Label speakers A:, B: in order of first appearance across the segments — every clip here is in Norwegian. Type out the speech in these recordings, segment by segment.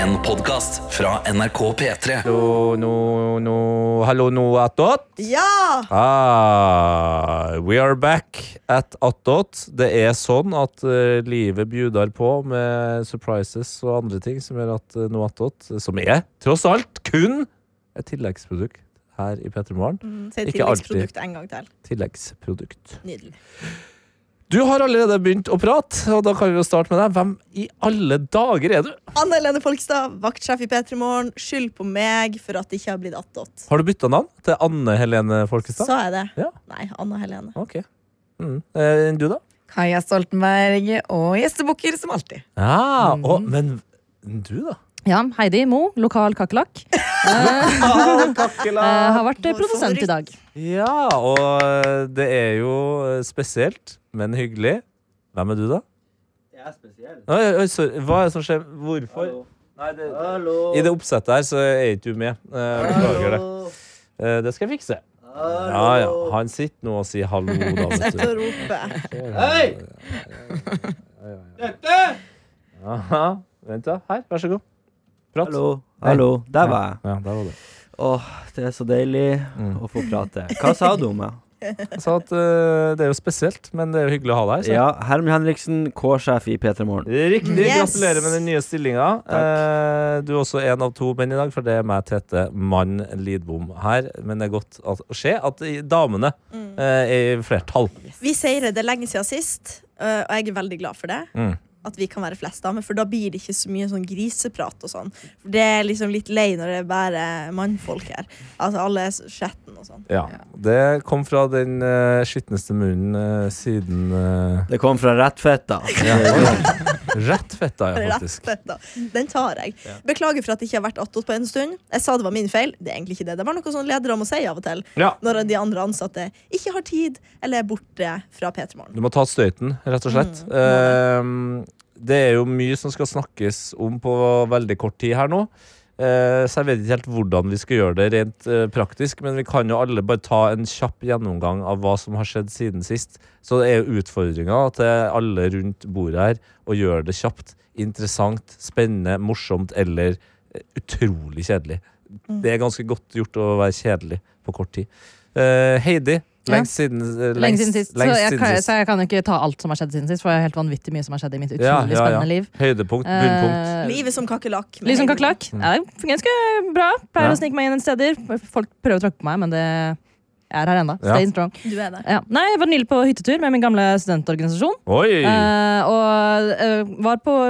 A: En podcast fra NRK P3
B: Hallo, no, no, hallo, no, attåt.
C: Ja!
B: Ah, we are back at attåt. Det er sånn at eh, livet bjudar på med surprises og andre ting som gjør at uh, no attåt, som er tross alt kun et tilleggsprodukt her i P3 Morgen.
C: Si
B: Ikke alltid.
C: tilleggsprodukt en gang til.
B: Tilleggsprodukt.
C: Nydelig.
B: Du har allerede begynt å prate, og da kan vi jo starte med deg. Hvem i alle dager er du?
C: Anne Helene Folkstad, vaktsjef i P3 Morgen. Skyld på meg for at det ikke har blitt attåt.
B: Har du bytta navn til Anne Helene Folkestad?
C: Sa jeg det?
B: Ja.
C: Nei, Anna Helene.
B: Ok. Mm. Eh, du, da?
D: Kaja Stoltenberg og gjestebukker som alltid.
B: Ja, Ah, og, men du, da?
E: Ja, Heidi Mo, lokal kakerlakk. eh, har vært eh,
C: Vår
E: produsent
C: favoritt.
E: i dag.
B: Ja, og eh, det er jo eh, spesielt, men hyggelig. Hvem er du, da?
F: Jeg er spesiell.
B: Oi, oi, sorry. Hva er det som skjer? Hvorfor?
F: Hallo.
B: Nei, det,
F: Hallo.
B: I det oppsettet her så er ikke du med. Eh, Beklager det. Eh, Det skal jeg fikse. Ja, ja. Han sitter nå og sier hallo, da. Vet
C: Sitter
B: du.
C: og roper.
F: Hei! Dette!
B: Aha. Vent, da. Her, vær så god. Prat.
F: Hallo. Hallo. Der var jeg.
B: Ja, der var det.
F: Åh, det er så deilig
B: Mm.
F: å få prate. Hva sa du om meg?
B: Jeg sa at eh, det er jo spesielt, men det er jo hyggelig å ha deg her. så-
F: Ja, Herman Henriksen, K-sjef i P3 Morgen.
B: Riktig.
C: Yes.
B: Gratulerer med den nye stillinga. Eh, du er også en av to menn i dag, for det er meg, Tete Mann Lidbom her. Men det er godt at- å se at i- damene
C: Mm.
B: eh, er i flertall.
C: Vi seirer det lenge siden sist, øh, og jeg er veldig glad for det.
B: Mm.
C: At vi kan være flest damer, for da blir det ikke så mye sånn griseprat og sånn. For Det er liksom litt lei når det er bare mannfolk her. Altså alle er skjetten og sånn.
B: Ja. Det kom fra den uh, skitneste munnen eh, siden eh,
F: Det kom fra Rettfetta.
B: Rett fetta, ja, faktisk.
C: Rett, da. Den tar jeg. Beklager for at det ikke har vært attåt på en stund. Jeg sa det var min feil. Det er egentlig ikke det. Det var noe sånn ledere må si av og til.
B: Ja.
C: Når de andre ansatte ikke har tid eller er borte fra P3
B: Du
C: Morgen.
B: må ta støyten, rett og
E: Mm,
B: slett. Eh, det er jo mye som skal snakkes om på veldig kort tid her nå. Eh, så jeg vet ikke helt hvordan vi skal gjøre det rent eh, praktisk, men vi kan jo alle bare ta en kjapp gjennomgang av hva som har skjedd siden sist. Så det er jo utfordringa til alle rundt bordet her å gjøre det kjapt, interessant, spennende, morsomt eller eh, utrolig kjedelig.
E: Mm.
B: Det er ganske godt gjort å være kjedelig på kort tid. Eh, Heidi,
E: Ja.
B: lenge siden, eh,
E: Lenge siden sist. Så
B: lengst
E: jeg,
B: siden
E: kan,
B: sist.
E: så jeg kan jo ikke ta alt som har skjedd siden sist, for det er helt vanvittig mye som har skjedd i mitt utrolig
B: Ja, ja, ja.
E: spennende liv.
B: Høydepunkt, bunnpunkt. Mm.
E: Eh,
C: Livet som kakerlakk.
E: Liv som kakerlakk. Ja, det fungerer ganske bra. Pleier
B: Ja.
E: å snike meg inn en steder. Folk prøver å tråkke på meg, men det jeg er her ennå.
B: Ja.
E: Stay strong.
C: Du er det.
E: Ja. Nei, jeg var nylig på hyttetur med min gamle studentorganisasjon.
B: Oi!
E: Eh, og eh, var på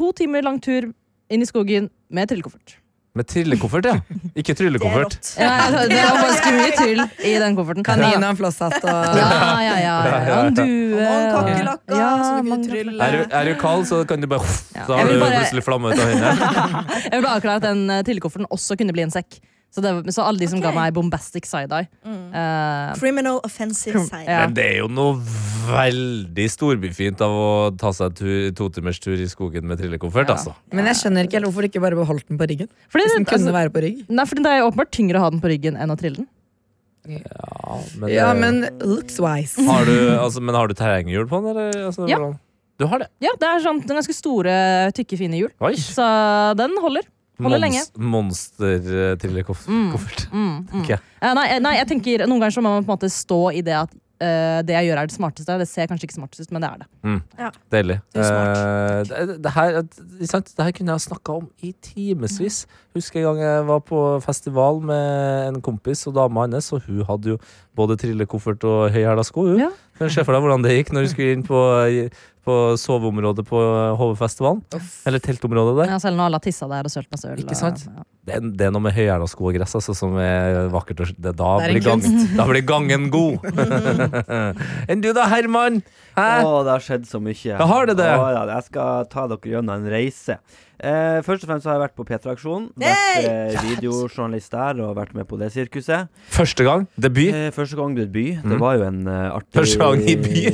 E: to timer lang tur inn i skogen med trillekoffert.
B: Med trillekoffert, ja. Ikke
C: Det er
B: tryllekoffert.
C: rått.
E: Ja, altså, det var ganske mye tryll i den kofferten.
D: Kanin og en flosshatt og
E: Ja, ja, eh, ja. ja. En due.
C: Og noen kakerlakker som du kunne
E: mange
C: trylle.
B: Er du,
E: kakerlakker.
B: er du kald, så kan du bare
E: Ja.
B: Da har
E: Jeg
B: du
E: vil bare-
B: plutselig flamme ut av hendene.
E: Jeg vil bare avklare at den eh, trillekofferten også kunne bli en sekk. Så, det, så alle de som
C: Ok.
E: ga meg bombastic side-eye. eh,
C: Criminal offensive
E: Krim-
C: sign.
E: ja.
B: Men det er jo noe veldig storbyfint av å ta seg en tur- totimerstur i skogen med trillekoffert,
E: Ja.
B: altså.
D: Men jeg skjønner ikke helt hvorfor du ikke bare beholdt den på ryggen.
E: fordi
D: Hvis den
E: det, altså,
D: kunne være på rygg.
E: nei, fordi det er jo åpenbart tyngre å ha den på ryggen enn å trille den.
B: Ja, men,
D: Ja,
B: eh,
D: men looks wise.
B: har du, altså, men har du terrenghjul på den, eller? Altså,
E: Ja.
B: hvordan- Du har det?
E: Ja, det er sånn, den er ganske store, tykke, fine hjul.
B: Oi!
E: Så den holder. Holder lenge.
B: eh, Monster-trillekoffert.
E: Mm, mm.
B: Ok.
E: Eh, nei, eh, nei, jeg tenker Noen ganger så må man på en måte stå i det at eh, det jeg gjør, er det smarteste. Det ser kanskje ikke smartest ut, men det er det.
B: Deilig.
C: Det er smart.
B: Eh, det, det- det, her, ikke sant? det her kunne jeg snakka om i timevis. Husker en gang jeg var på festival med en kompis og dama hennes, og hun hadde jo både trillekoffert og høyhæla sko. Hun.
E: Ja.
B: Men Se for deg hvordan det gikk når hun skulle inn på, på soveområdet på HV-festivalen. Eller teltområdet der.
E: Ja, selv når alle har tissa der og sølt masse øl.
B: Ikke sant?
E: og- ja.
B: Det, er, det er noe med høyhæla sko og gress altså, som er vakkert. å s- Det, da,
D: Det er en
B: blir gang, da blir gangen god. Enn du da, Herman? Hæ?
F: Å, det har skjedd så mye.
B: Ja, har det det?
F: Å, ja, jeg skal ta dere gjennom en reise. Eh, først og fremst så har jeg vært på P3-aksjon. Vært
C: Yay!
F: eh, videojournalist der og vært med på det sirkuset.
B: Første gang? Debut?
F: Eh, første gang i by. Det var jo en eh, artig
B: Mm. Første gang i by.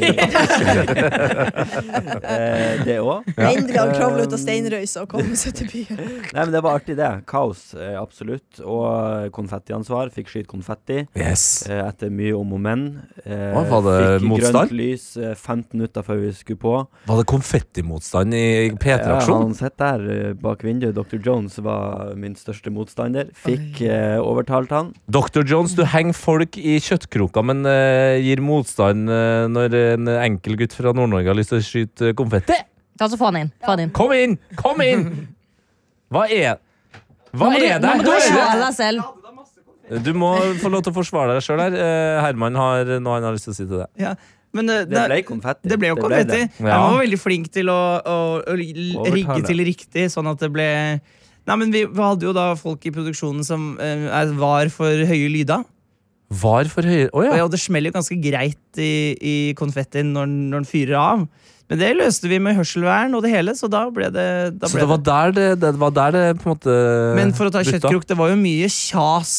F: eh, det òg.
C: Endelig han kravla ut av
F: Um,
C: steinrøysa og kom seg til byen.
F: Eh, Nei, men det var artig, det. Kaos, eh, absolutt. Og eh, konfettiansvar. Fikk skyte konfetti.
B: Yes.
F: Eh, etter mye om og men. Eh,
B: Å, var det
F: fikk
B: motstand?
F: grønt lys eh, 15 minutter før vi skulle på.
B: Var det konfettimotstand i P3-aksjonen?
F: han sitter der eh, bak vinduet. Dr. Jones var min største motstander. Fikk eh, overtalt han.
B: Dr. Jones, du henger folk i kjøttkroker, men eh, gir motstand eh, når en enkel gutt fra Nord-Norge har lyst til å skyte eh, konfetti?
E: Ta så Få han inn. Få han inn.
B: Kom inn! Kom inn! Hva er Hva
E: Nå må du,
B: er det
E: nå må du
B: her?
E: forsvare deg selv.
B: Du må få lov til å forsvare deg sjøl her. Eh, Herman har noe han har lyst til å si til deg.
G: Ja. Men det,
F: Det
G: det,
F: ble konfetti.
G: det ble jo konfetti.
F: det.
B: Ja.
G: Han var veldig flink til å, å, å l-
F: Overtale.
G: rigge til riktig, sånn at det ble Nei, men vi, vi hadde jo da folk i produksjonen som eh, er- var for høye lyder.
B: Var for høye Å
G: Og,
B: ja.
G: ja, det smeller jo ganske greit i, i konfettien når, den- når den fyrer av. Men det løste vi med hørselvern og det hele, så da ble det, da
B: Så
G: ble
B: det var der det, det, var der det på en måte
G: Men for å ta
B: slutta.
G: kjøttkrok, det var jo mye kjas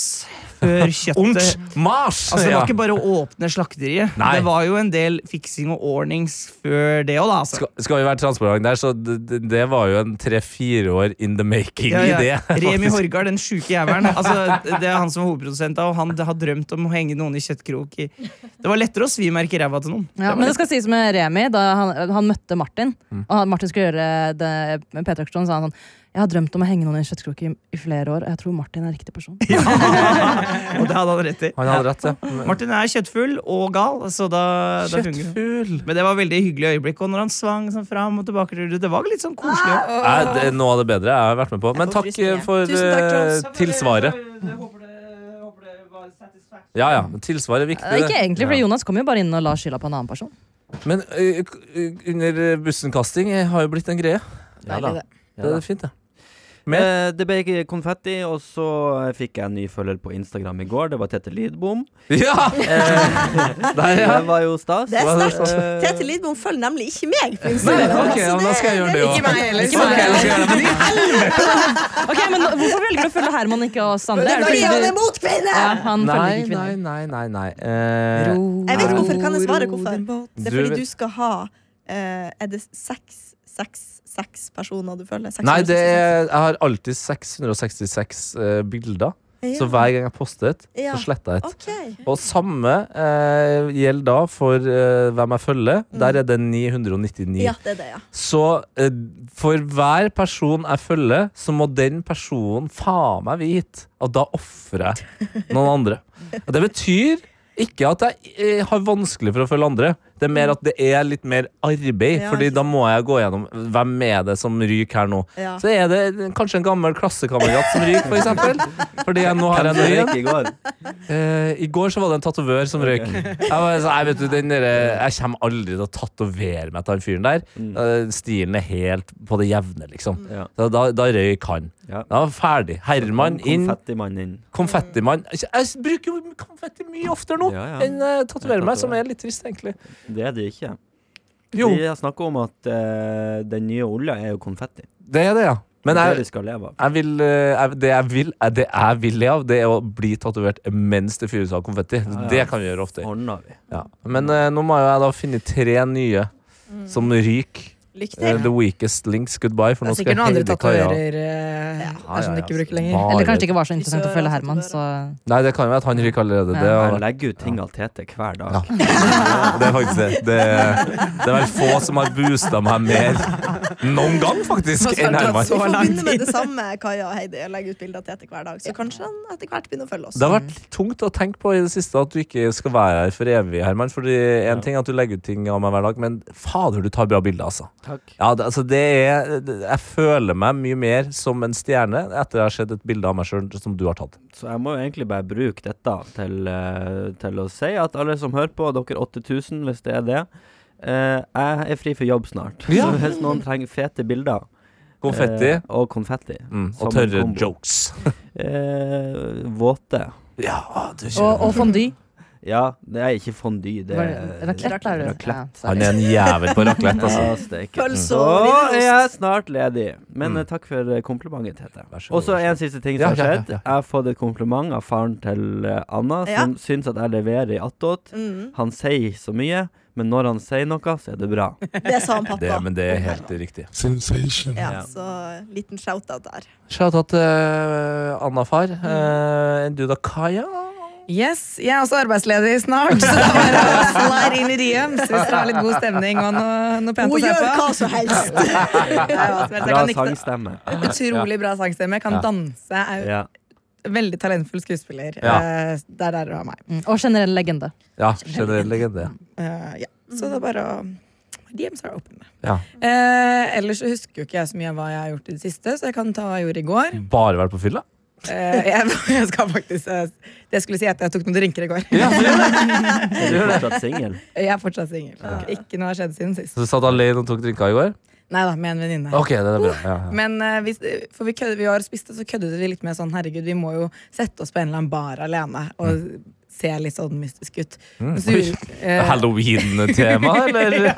G: før kjøttet
B: Ondt Mars!
G: Altså, det
B: ja.
G: var ikke bare å åpne slakteriet.
B: Nei.
G: Det var jo en del fiksing og ordnings før det òg, da. Altså.
B: skal, skal vi være transparente der, så det, det- det var jo en tre-fire år in the making
G: Ja, ja.
B: idé.
G: Remi
B: faktisk.
G: Horgard, den sjuke jævelen. Altså, det er han som er hovedprodusent, da, og han har drømt om å henge noen i kjøttkrok. i- Det var lettere å svimerke ræva til noen.
E: Ja, men det skal sies med Remi, da han, han møtte Martin,
B: Mm.
E: og han, Martin skulle gjøre det med P3-aksjonen, sa han sånn Jeg har drømt om å henge noen i en kjøttkrok i, i flere år, og jeg tror Martin er riktig person.
G: Og det hadde han rett i.
B: Han hadde rett, ja. Men-
G: Martin er kjøttfull og gal, så da, da fungerer det.
B: Kjøttfugl!
G: Men det var veldig hyggelig øyeblikk. Og når han svang sånn fram og tilbake, det var litt sånn koselig. også.
B: Nei, det er Noe av det bedre jeg har vært med på. Men
C: Jeg får
B: takk
C: frysninger.
B: eh, for
C: Tusen takk, Jones.
B: eh, tilsvaret. Ja ja, tilsvaret er viktig.
E: Eh, Ikke
B: det.
E: egentlig, for Jonas kom jo bare inn og la skylda på en annen person.
B: Men eh, k- eh, under bussenkasting eh, har jo blitt en greie.
F: Ja da. Ja
B: Det
F: da.
B: er fint, det.
F: Eh, det ble ikke konfetti, og så eh, fikk jeg en ny følger på Instagram i går. Det var Tete Lidbom. Eh,
B: Ja! Der, ja.
F: Det var jo stas.
C: Det er
F: Var-
C: sterkt.
F: eh,
C: Tete Lidbom følger nemlig ikke meg på
B: Nei,
C: Instagram.
B: ok, ja, men da skal jeg gjøre det òg.
D: Ikke meg heller.
E: Ikke meg heller.
B: heller.
E: Ok, men nå- Hvorfor velger du å følge Herman, ikke oss andre?
C: Det er fordi
E: fordi
C: han
E: du-
C: er mot kvinner!
E: ja, han følger
B: Nei,
E: ikke
B: nei,
E: kvinner.
B: nei. nei, nei. Eh,
C: Jeg vet ikke hvorfor. Kan jeg svare hvorfor? Det er
B: Du
C: fordi
B: vet-
C: du skal ha eh, Er det seks, seks, seks personer du følger?
B: Eh, Nei, det
C: 666?
B: er, jeg har alltid 666 eh, bilder. Så hver gang jeg poster et,
C: Ja.
B: så sletter jeg et.
C: Ok.
B: Og samme eh, gjelder da for eh, hvem jeg følger. Der er det 999.
C: Mm. Ja, det er det, ja.
B: Så eh, for hver person jeg følger, så må den personen faen meg vite at da ofrer jeg noen andre. Og det betyr ikke at jeg eh, har vanskelig for å følge andre. Det er mer at det er litt mer arbeid,
C: Ja,
B: Fordi
C: ikke
B: da må jeg gå gjennom hvem er det som ryker her nå.
C: Ja.
B: Så er det kanskje en gammel klassekamerat som ryker, for eksempel. Fordi jeg nå har en ny
F: det
B: en.
F: gikk i går.
B: Eh, I går så var det en tatovør som røyk. Jeg, var så, jeg, vet du, den der, eh, jeg kommer aldri til å tatovere meg til den fyren der.
F: Mm.
B: Eh, stilen er helt på det jevne, liksom.
F: Ja.
B: Så da, da røyk han.
F: Ja.
B: Da var jeg ferdig. Herman inn.
F: Konfettimann inn.
B: Konfettimann. Altså, Jeg, jeg bruker jo konfetti mye oftere nå
F: Ja, ja.
B: enn uh, tatoverer meg, som
F: Tatoverer.
B: er litt trist, egentlig.
F: Det er det ikke.
B: Jo,
F: Vi har snakka om at eh, den nye olja er jo konfetti.
B: det er det, ja. Men
F: det er
B: jeg,
F: det vi skal leve av.
B: jeg vil, eh, jeg, det jeg vil eh, Det jeg vil leve av, det er å bli tatovert mens det fyres av konfetti.
F: ja.
B: Det kan vi gjøre ofte.
F: Ordner vi.
B: Ja. Men eh, nå må jo jeg da finne tre nye
D: Mm.
B: som ryker.
C: Lykke
B: Eh,
C: til.
B: the weakest links goodbye. For nå
D: Det er
B: skal
D: sikkert noen andre
B: Heidi Kaja-
D: tatoverer eh,
B: Ja, ja,
D: der som du
B: ja.
D: ikke bruker lenger.
B: Bare-
E: Eller kanskje ikke var så interessant å følge Herman, så
B: Nei, det kan jo være at han ryker allerede. Det,
E: Ja.
F: Jeg
B: er,
F: legger ut ting av Tete hver dag.
B: Ja. det er faktisk det. det. Det er vel få som har boosta meg mer noen gang, faktisk,
D: Hva sa
B: enn
D: du?
B: Herman.
C: Vi
D: Så
C: får
D: lang
C: begynne med det samme, Kaja og Heidi, og legge ut bilder av Tete hver dag. Så kanskje han etter hvert begynner å følge oss.
B: Det har vært litt tungt å tenke på i det siste at du ikke skal være her for evig, Herman. Fordi en ting er at du legger ut ting av meg hver dag, men fader, du tar bra bilder, altså.
F: Takk.
B: Ja, det, altså det er, jeg føler meg mye mer som en stjerne etter jeg har sett et bilde av meg sjøl som du har tatt.
F: Så jeg må jo egentlig bare bruke dette til, eh, til å si at alle som hører på, dere 8000, hvis det er det, eh, jeg er fri for jobb snart.
B: Ja.
F: Så hvis noen trenger fete bilder
B: Konfetti
F: eh, og konfetti
B: mm,
F: som
B: og tørre
F: kombo.
B: jokes.
F: eh, Våte.
B: Ja, du
E: Og, og fondy.
F: Ja, det er ikke fondy, det er
E: Raclette er det. Ja,
B: Han
E: sorry.
B: er en jævel på raclette, altså.
F: Ja, steik.
C: Pølse
F: Så
C: og
F: er jeg
C: wienernost.
F: snart ledig. Men
B: Mm.
F: eh, takk for eh, komplimentet, Tete.
B: Vær så god,
F: Og så
B: vær så
F: en siste
B: Ja,
F: ting som har
B: ja, ja,
F: skjedd.
B: ja.
F: Jeg har fått et kompliment av faren til eh, Anna,
C: Ja.
F: som syns at jeg leverer i attåt.
C: Mm,
F: Han sier så mye, men når han sier noe, så er det bra.
C: det sa han pappa.
B: Det, men det er helt riktig.
H: Sensation.
C: Ja,
F: Ja.
C: så liten shout-out der.
F: Mm.
B: Shout-out til Anna-far. Uh, du da, Kaja?
D: Yes, Jeg er også arbeidsledig snart, så da bare å slide inn i Riem hvis dere har litt god stemning og noe, noe pent
C: Hun
D: å se
C: gjør
D: på.
C: hva som helst!
D: Jeg er også arbeidsledig. Jeg kan
F: Bra
D: nikte.
F: sangstemme.
D: Utrolig bra sangstemme. Jeg kan
B: Ja.
D: danse. Jeg er
F: Ja.
D: jo veldig talentfull skuespiller.
B: Ja.
D: Eh, Det er der du har meg.
E: Mm. Og generell legende.
B: Ja, generell legende.
D: Eh, ja. Så det er bare å My DMs are open.
B: Ja.
D: Eh, ellers så husker jo ikke jeg så mye av hva jeg har gjort i det siste, så jeg kan ta hva jeg gjorde i går.
B: Bare vært på fylla?
D: Eh, jeg, jeg skal faktisk eh, Det jeg skulle si er at jeg tok noen drinker i går.
B: Ja,
F: Er du fortsatt singel?
D: Jeg er fortsatt singel. Ikke noe har skjedd siden sist.
B: så du satt alene og tok drinker i går?
D: Nei da, med en venninne.
B: Ok, det er bra. Ja, ja.
D: Men eh, hvis, for vi, kødde, vi var og spiste, så køddet vi litt med sånn Herregud, vi må jo sette oss på en eller annen bar alene og
B: Mm.
D: se litt sånn mystisk ut. Men så gjorde- eh,
B: Halloween-tema, eller?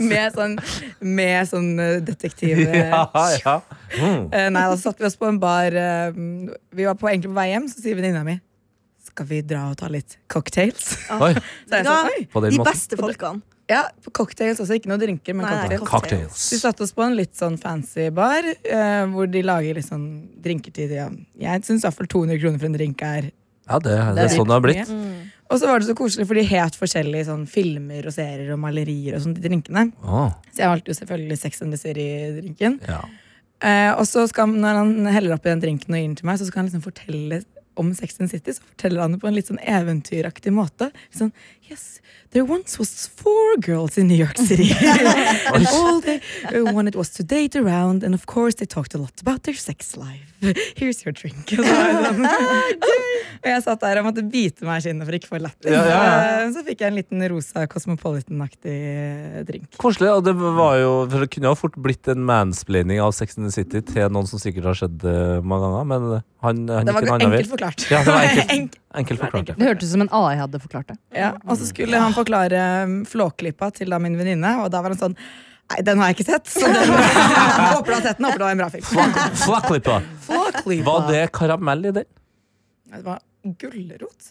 D: med sånn, med sånn eh, detektiv eh,
B: Ja, ja. Mm.
D: Eh, nei, da satt vi oss på en bar. eh, vi var på, egentlig på vei hjem, så sier venninna mi Skal vi dra og ta litt cocktails?
B: Oi,
D: Så jeg sånn, oi.
B: på den
C: De
B: måten.
C: beste folkene.
D: Ja, på cocktails også. Ikke noe drinker, men
C: Nei, nei,
D: cocktails.
B: Cocktails.
D: Så vi satte oss på en litt sånn fancy bar, eh, hvor de lager litt sånn drinker til de. ja. Jeg syns iallfall 200 kroner for en drink er
B: Ja, det, det er sånn det har blitt.
C: Mm.
D: Og så var det så koselig, for de het forskjellige sånn filmer og serier og malerier og sånt i drinkene.
B: Åh,
D: Så jeg valgte jo selvfølgelig Sex and the City-drinken.
B: ja.
D: Eh, og så skal, han- når han heller oppi den drinken og gir den til meg, så skal han liksom fortelle om Sex and the City. Så forteller han det på en litt sånn eventyraktig måte. Sånn, yes, there once was four girls in New York City. and all they uh, wanted was to date around, and of course they talked a lot about their sex life. Here's your drink. Og så var jeg sånn, og jeg satt der og måtte bite meg i kinnet for ikke å få latter.
B: Ja, ja,
D: Eh, Så fikk jeg en liten rosa Cosmopolitan-aktig drink.
B: Koselig. Og det var jo, for det kunne jo fort blitt en mansplaining av Sex and the City til noen som sikkert har skjedd eh, mange ganger, men han, han
D: Det
B: gikk
D: var
B: en annen vei.
D: enkelt forklart.
B: Ja, det var enkelt.
D: Enk-
B: Enkelt forklart.
E: Det hørtes ut som en AI hadde forklart det.
D: Ja, og så skulle han forklare um, Flåklypa til da min venninne, og da var han sånn Nei, den har jeg ikke sett. Så den håper du har sett den. Håper det var en bra film.
B: ja. Flakklippa.
D: Flåklypa.
B: Var det karamell i den?
D: Det var gulrot.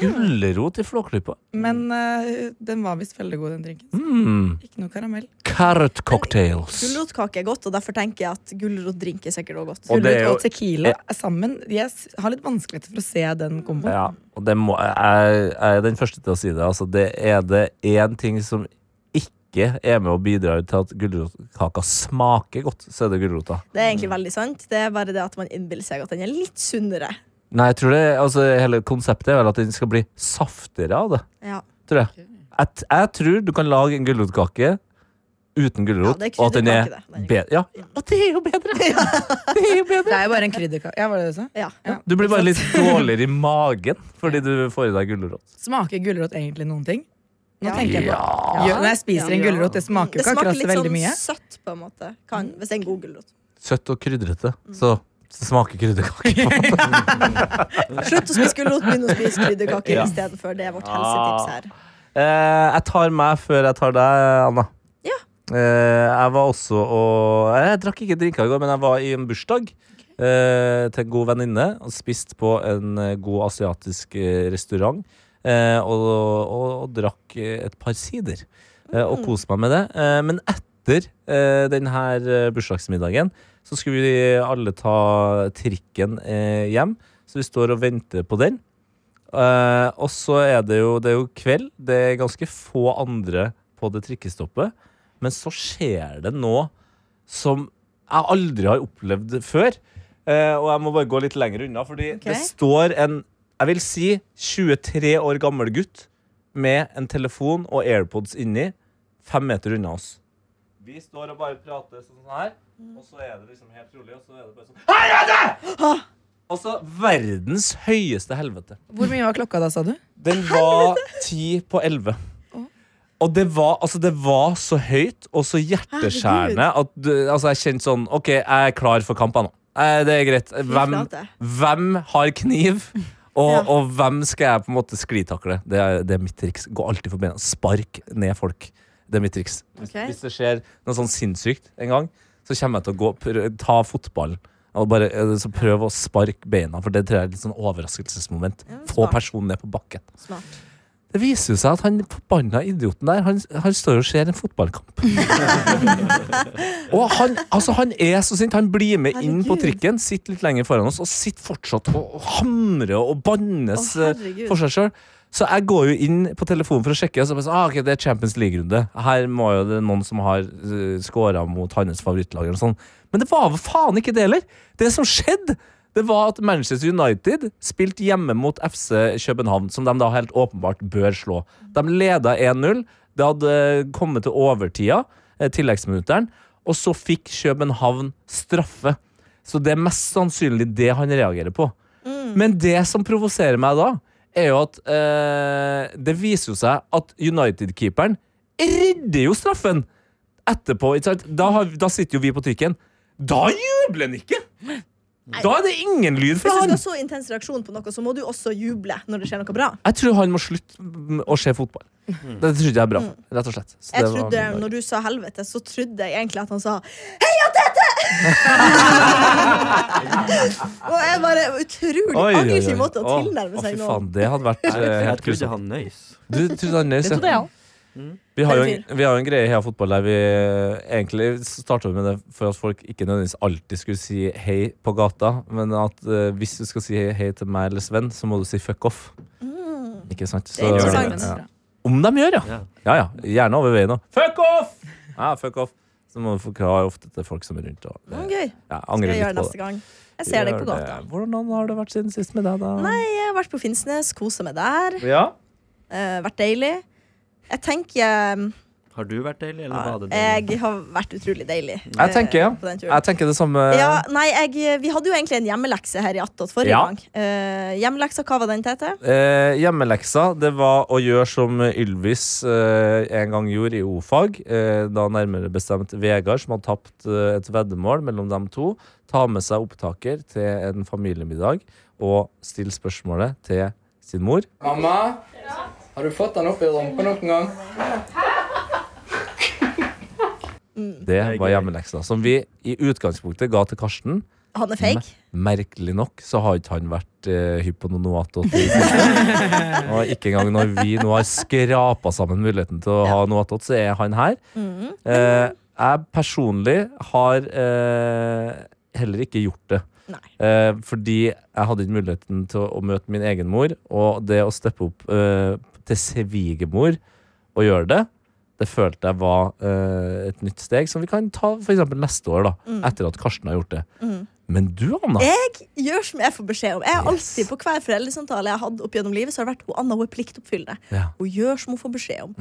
B: Gulrot i flåklypa.
D: Men eh, den var visst veldig god, den drinken.
B: Mm.
D: Ikke noe karamell.
B: Carrot cocktails.
C: Gulrotkake er godt, og derfor tenker jeg at gulrotdrink er sikkert også godt.
B: Og det er
D: Gulrot
B: jo-
D: og tequila er sammen. Jeg s- har litt vanskeligheter for å se den komboen.
B: Ja, og det må, jeg, jeg er den første til å si det. Altså, det er det én ting som ikke er med og bidrar til at gulrotkaka smaker godt, så er det gulrota.
C: Det er egentlig veldig sant. Det er bare det at man innbiller seg at den er litt sunnere.
B: Nei, jeg tror det, altså, hele konseptet er vel at den skal bli saftigere av det.
C: Ja.
B: Tror jeg. Jeg, t- jeg tror du kan lage en gulrotkake uten
C: Ja,
B: gulrot,
C: det er
B: og at den er
C: krydderkake, det. Den er
B: bedre. Ja, og det er jo bedre! Det er jo
D: Det
B: bedre.
D: er jo bare en krydderkake. Ja, var det det du sa?
C: Ja. Mm.
B: Du blir bare litt dårligere i magen fordi du får i deg gulrot.
D: Smaker gulrot egentlig noen ting? Nå
C: Ja.
D: tenker jeg på
B: Ja.
D: Gjør- Når jeg spiser en
E: Ja.
D: gulrot, det smaker jo
C: Det
D: ikke
C: smaker
D: akkurat
C: litt
D: så veldig
C: sånn
D: mye. Mm.
C: søtt, på en måte. Kan, hvis det er en god gulrot.
B: Søtt og krydrete.
C: Mm.
B: Så det smaker krydderkake. på en måte.
C: Slutt å spise gulrot, begynn å spise krydderkaker
B: Ja. Ah.
C: istedenfor. Det er vårt helsetips her.
B: Eh, jeg tar meg før jeg tar deg, Anna.
C: Ja.
B: Eh, jeg var også og Eh, Jeg drakk ikke drinker i går, men jeg var i en bursdag eh, til en god venninne og spiste på en eh, god asiatisk eh, restaurant. Eh, og, og, og drakk eh, et par sider. Eh, og koste meg med det. Eh, men etter eh, denne bursdagsmiddagen så skulle vi alle ta trikken eh, hjem. Så vi står og venter på den. Eh, og så er det jo Det er jo kveld. Det er ganske få andre på det trikkestoppet. Men så skjer det noe som jeg aldri har opplevd før. Eh, og jeg må bare gå litt lenger unna, fordi
C: Ok.
B: det står en jeg vil si 23 år gammel gutt med en telefon og AirPods inni, fem meter unna oss. Vi står og bare prater sånn her, og så er det liksom helt rolig, og så er det bare sånn Her er det! Altså verdens høyeste helvete.
D: Hvor mye var klokka da, sa du?
B: Den var ti på elleve. Og det var, altså det var så høyt og så hjerteskjærende at du, altså jeg kjente sånn OK, jeg er klar for kamp nå. Eh, Det er greit. Hvem,
C: flate.
B: hvem har kniv? Og,
C: Ja.
B: og hvem skal jeg på en måte sklitakle? Det er, det er mitt triks. Gå alltid for bena. Spark ned folk. Det er mitt triks. Hvis,
C: Ok.
B: hvis det skjer noe sånn sinnssykt en gang, så kommer jeg til å gå, prø- ta fotballen og bare eh, så prøve å sparke beina, for det tror jeg er et litt sånn overraskelsesmoment.
C: Ja,
B: Få
C: smart.
B: personen ned på bakken.
C: Smart.
B: Det viser jo seg at han forbanna idioten der, han, han står og ser en fotballkamp. og han, altså, han er så sint. Han blir med inn på
C: Herregud.
B: trikken, sitter litt lenger foran oss og sitter fortsatt og, og hamrer og
C: Å,
B: bannes eh,
C: herregud.
B: for seg sjøl. Så jeg går jo inn på telefonen for å sjekke. Og så bare sånn, ah, ok, det er Champions League-runde. Her må jo det noen som har uh, scora mot hans favorittlag. eller noe sånt. Men det var vel faen ikke det heller! Det som skjedde, det var at Manchester United spilte hjemme mot FC København, som de da helt åpenbart bør slå. De leda 1-0. Det hadde eh, kommet til overtida, eh, tilleggsminutteren, og så fikk København straffe. Så det er mest sannsynlig det han reagerer på.
C: Mm.
B: Men det som provoserer meg da, er jo at eh, det viser jo seg at United-keeperen redder jo straffen etterpå. Ikke sant? Da, har, da sitter jo vi på trikken. Da jubler han ikke! Da er det ingen lyd
C: Hvis
B: fra
C: du skal
B: han!
C: ha så intens reaksjon på noe, så må du også juble når det skjer noe bra.
B: Jeg tror han må slutte med å se fotball. Det tror ikke jeg er bra for rett og slett. Så
C: Mm. Jeg
B: det var
C: trodde,
B: min dag.
C: når du sa helvete, så trodde jeg egentlig at han sa Heia Tete! og jeg bare Utrolig
B: Oi, oi, oi.
C: aggressiv måte å
B: Å,
C: tilnærme
B: å,
C: seg
B: fy
C: nå.
B: faen, det hadde vært eh,
F: Jeg
B: helt
F: trodde
B: grusomt.
F: han nøys.
B: Du trodde han nøys,
E: Det
B: ja.
E: trodde jeg òg.
B: Vi har, jo en,
C: Veldig
B: vi har jo en greie i Heia Fotball der vi egentlig starta med det for at folk ikke nødvendigvis alltid skulle si hei på gata, men at eh, hvis du skal si hei, hei til meg eller Sven, så må du si fuck off. Ikke sant?
C: Mm. Det er interessant.
B: ja. Om de gjør, ja.
F: Ja.
B: ja! ja. Gjerne over veien òg. Fuck off! Ja, fuck off. Så må du forklare ofte til folk som er rundt. Og,
C: Mm,
B: eh,
C: Gøy.
B: ja,
C: Skal
B: angrer
C: jeg gjøre
B: litt på
C: neste
B: det.
C: gang. Jeg ser deg på
B: Gjør det.
C: gata.
B: Hvordan har det vært siden sist med deg, da?
C: Nei, jeg har vært på Finnsnes, kosa meg der.
B: Ja.
C: eh, vært deilig. Jeg tenker
F: Har du vært deilig, eller var det
C: eh,
F: deilig?
C: Jeg har vært utrolig deilig.
B: Jeg tenker, ja. eh,
C: eh, På den turen.
B: Jeg tenker det samme.
C: Ja, nei, jeg, vi hadde jo egentlig en hjemmelekse her i Attåt forrige
B: Ja.
C: gang. Eh, hjemmeleksa, hva var den, Tete?
B: Eh, hjemmeleksa det var å gjøre som Ylvis eh, en gang gjorde i O-fag. Eh, da nærmere bestemt Vegard, som hadde tapt eh, et veddemål mellom dem to. Ta med seg opptaker til en familiemiddag og stille spørsmålet til sin mor.
H: Mamma? Har du fått den opp i rumpa noen gang?
B: Det var hjemmeleksa. Som vi i utgangspunktet ga til Karsten.
C: Han er fake.
B: Merkelig nok så har ikke han vært eh, hypp på noe noato. til det siste. Og ikke engang når vi nå har skrapa sammen muligheten til å ha noatot, så er han her.
C: Mhm.
B: Eh, jeg personlig har eh, heller ikke gjort det.
C: Nei.
B: Eh, fordi jeg hadde ikke muligheten til å, å møte min egen mor, og det å steppe opp eh, til svigermor og gjøre det, det følte jeg var eh, et nytt steg som vi kan ta for eksempel neste år, da, etter at Karsten har gjort det. Men du, Anna,
C: Mm. Jeg gjør som jeg får beskjed om. Jeg har
B: Yes.
C: alltid På hver foreldresamtale jeg har hatt opp gjennom livet, Så har det vært hun Anna hun er pliktoppfyllende.
B: Ja. Mm.
C: Hun gjør som hun får beskjed om.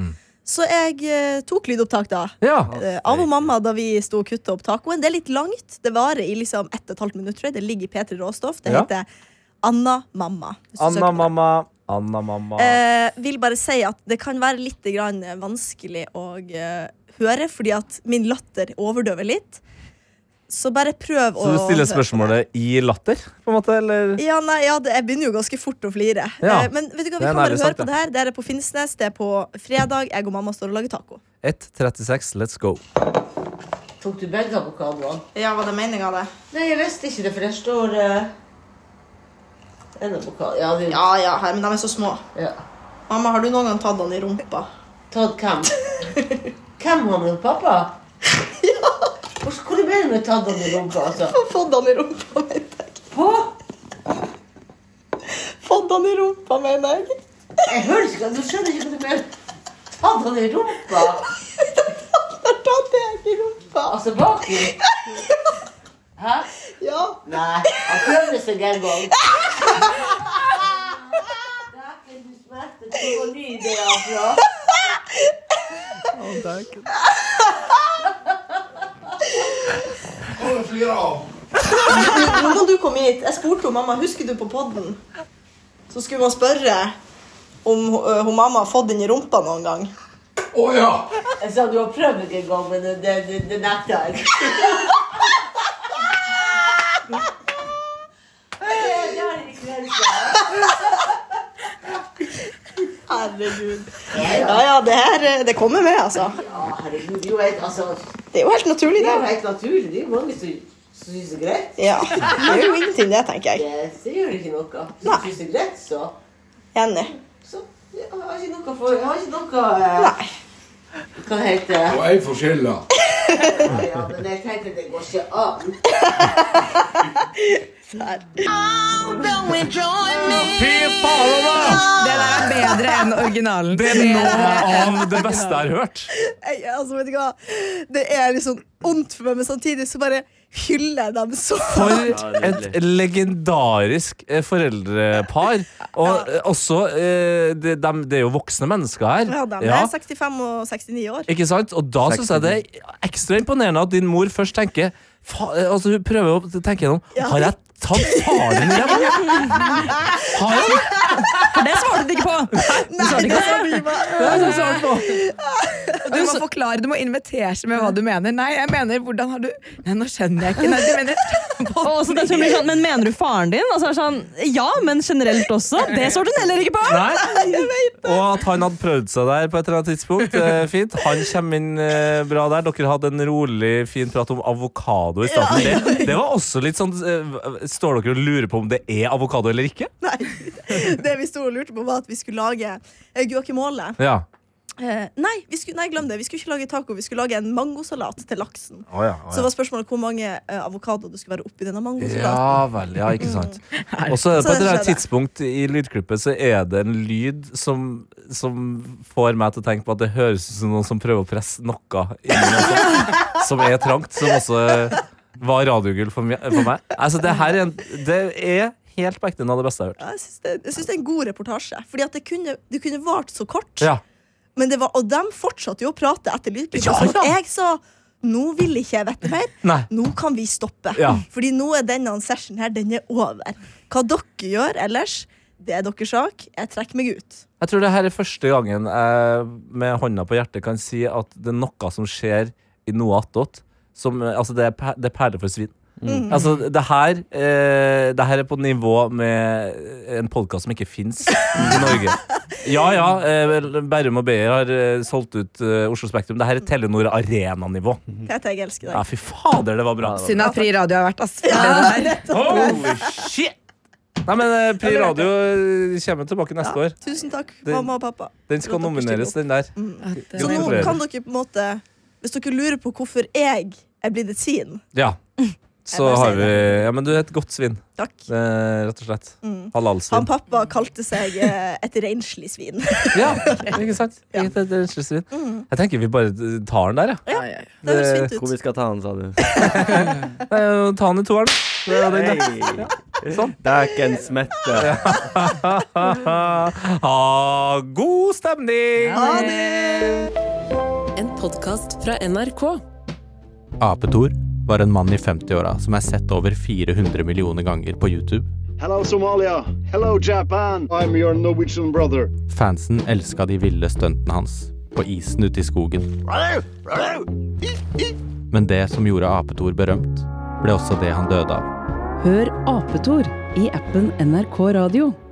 C: Så jeg eh, tok lydopptak da.
B: ja,
C: eh, av og mamma da vi sto og kutta opp tacoen. Det er litt langt. Det varer i liksom ett og et halvt minutt, tror jeg. Det ligger i P3 Råstoff. Det
B: Ja.
C: heter Anna Mamma. hvis du søker på
B: Anna
C: det.
B: mamma, Anna mamma.
C: Eh, vil bare si at det kan være litt grann vanskelig å eh, høre, fordi at min latter overdøver litt. Så bare prøv å
B: Så du stiller spørsmålet i latter, på en måte, eller?
C: Ja, nei, ja det, jeg begynner jo ganske fort å flire.
B: Ja.
C: Eh, men vet du
B: Det er
C: hva, vi kan bare
B: nærlig
C: høre
B: sagt,
C: på det her. Det her er på Finnsnes. Det er på fredag. Jeg og mamma står og lager taco.
B: 1.36, let's go.
I: Tok du begge avokadoene?
C: Ja, hva er meninga av det?
I: Nei, jeg visste ikke det, for det står eh, En avokado Ja, det
C: Ja ja, her, men de er så små.
I: ja.
C: Mamma, har du noen gang tatt den i rumpa?
I: Tatt hvem? hvem har med pappa? ja! Hvor ble det med tatt han i rumpa, altså?
C: Fått den i rumpa, mener jeg.
I: Hå?
C: Fått den i rumpa, mener jeg.
I: Jeg hører ikke, du skjønner ikke hva du mener. Tatt han i rumpa?
C: Tatt den i rumpa.
I: Altså baki? Hæ?
C: Ja.
I: Nei, han prøvde seg en gang. Dæken, du smerter. Hvor ny det altså. er fra?
C: Nå må du komme hit. Jeg spurte jo mamma husker du på podden. Så skulle man spørre om ø, hun mamma har fått den i rumpa noen gang.
I: Jeg sa du har prøvd ikke engang, men det, det, det, det nekter jeg. Det- det har jeg ikke grenser.
C: Herregud. Ja, ja, det her ø, det kommer med, altså.
I: Ja, herregud, jo, jeg, altså,
C: Det er jo helt naturlig,
I: det er jo
C: det.
I: helt naturlig. Det er jo mange som som synes det er greit.
C: Ja. Det er jo ingenting, det, tenker jeg.
I: Det, det gjør ikke noe. Hvis
C: Nei.
I: du synes det er greit, så,
C: Enig.
I: så Jeg har ikke noe for Jeg har ikke noe Nei. Hva det heter det?
J: Og jeg får skylda.
I: Ja, ja, men jeg tenkte det går ikke an.
B: Fy faen, Anna!
D: Det der er bedre enn originalen.
B: Det er noe av det beste jeg har hørt.
C: Jeg, altså, vet du hva? Det er litt sånn ondt for meg, men samtidig så bare hyller jeg dem så
B: For et legendarisk eh, foreldrepar. Og eh, også eh, de, dem- Det er jo voksne mennesker
C: Ja,
B: her.
C: de
B: Ja,
C: er 65 og 69 år.
B: ikke sant? Og da syns jeg det er ekstra imponerende at din mor først tenker fa, eh, altså Hun prøver å tenke gjennom
C: Ja.
B: Har jeg tatt faren min? hjem? Har jeg?
E: For det svarte du ikke på!
C: Nei, det er så mye bare-
B: Det synes jeg var på.
D: Du må forklare, du må invitere seg med hva du mener. Nei, jeg mener hvordan har du Nei, nå skjønner jeg ikke. Nei, du mener
E: Og også det som blir sånn, men mener du faren din? Og så er det sånn, ja, men generelt også. Det svarte hun heller ikke på!
B: Nei. Og at han hadde prøvd seg der på et eller annet tidspunkt. Eh, fint. Han kommer inn eh, bra der. Dere hadde en rolig, fin prat om avokado i starten. Det, det var også litt sånn eh, Står dere og lurer på om det er avokado eller ikke?
C: Nei. Det vi sto og lurte på, var at vi skulle lage eh, guacamole.
B: Ja.
C: Eh, nei, vi skulle, nei, glem det. Vi skulle ikke lage taco, vi skulle lage en mangosalat til laksen. Så var spørsmålet hvor mange eh, avokadoer det skulle være oppi denne Mm. mangosalaten.
B: Ja vel, ja, ikke sant. Og så er det på et eller annet tidspunkt i lydklippet så er det en lyd som, som får meg til å tenke på at det høres ut som noen som prøver å presse noe inni meg som- som er trangt, som også var radiogull for, mje- for meg. Altså, det her er, en, det er helt på ekte noe av det beste jeg har hørt.
C: Ja, jeg syns det, jeg synes det er en god reportasje. Fordi at det kunne, det kunne vart så kort.
B: Ja.
C: Men det var, og de fortsatte jo å prate etter lydklippet.
B: Ja,
C: sånn at
B: ja.
C: Jeg sa nå vil ikke jeg vite mer.
B: Nei.
C: Nå kan vi stoppe.
B: Ja.
C: Fordi nå er denne session her, den er over. Hva dere gjør ellers, det er deres sak. Jeg trekker meg ut.
B: Jeg tror det her er første gangen jeg med hånda på hjertet kan si at det er noe som skjer i noe attåt. Som, eh, altså det er, per- det er perler for svin. Altså, det her, eh, det her er på nivå med en podkast som ikke fins i Norge. Ja ja, eh, vel, Bærum og Beyer har eh, solgt ut eh, Oslo Spektrum. Det her er Telenor Arena-nivå.
C: Peter, jeg elsker
B: Mhm. Ja,
C: deg.
B: fy fader, det var bra.
D: Synd at Fri Radio har vært, ass. for det der.
B: Holy shit! Nei, men eh, Pri Radio eh, kommer tilbake neste år.
C: Tusen takk,
B: Det-
C: mamma og pappa.
B: Den skal
C: Dere stiller
B: nomineres, den der.
D: At, eh,
C: Så Altså, nå
B: Gratulerer.
C: kan dere på en måte Hvis dere lurer på hvorfor jeg er blitt et svin
B: Ja. Så
C: bare
B: har
C: sier
B: vi Ja, men du er et godt svin,
C: Takk.
B: eh, rett og slett.
C: Mm. Han
B: Halalsvin.
C: pappa kalte seg eh, et renslig svin.
B: Ja, ikke sant? Ikke et- et renslig svin.
C: Mm.
B: Jeg tenker vi bare tar den der, jeg.
D: ja, ja, ja.
C: Det høres
B: Det-
C: fint
F: Hvor vi
C: ut.
F: skal ta den, sa du?
B: Nei, Eh, Ta den i toeren. Det er den, Sånn. da.
F: Hey. Dæken smette.
B: Ha god stemning!
C: Ha det!
K: En podkast fra NRK.
B: Apetor var en mann i 50-åra som er sett over 400 millioner ganger på YouTube.
J: Hello Somalia. Hello Japan. I'm your Norwegian brother.
B: Fansen elska de ville stuntene hans på isen ute i skogen. Men det som gjorde Apetor berømt, ble også det han døde av.
K: Hør Apetor i appen NRK Radio.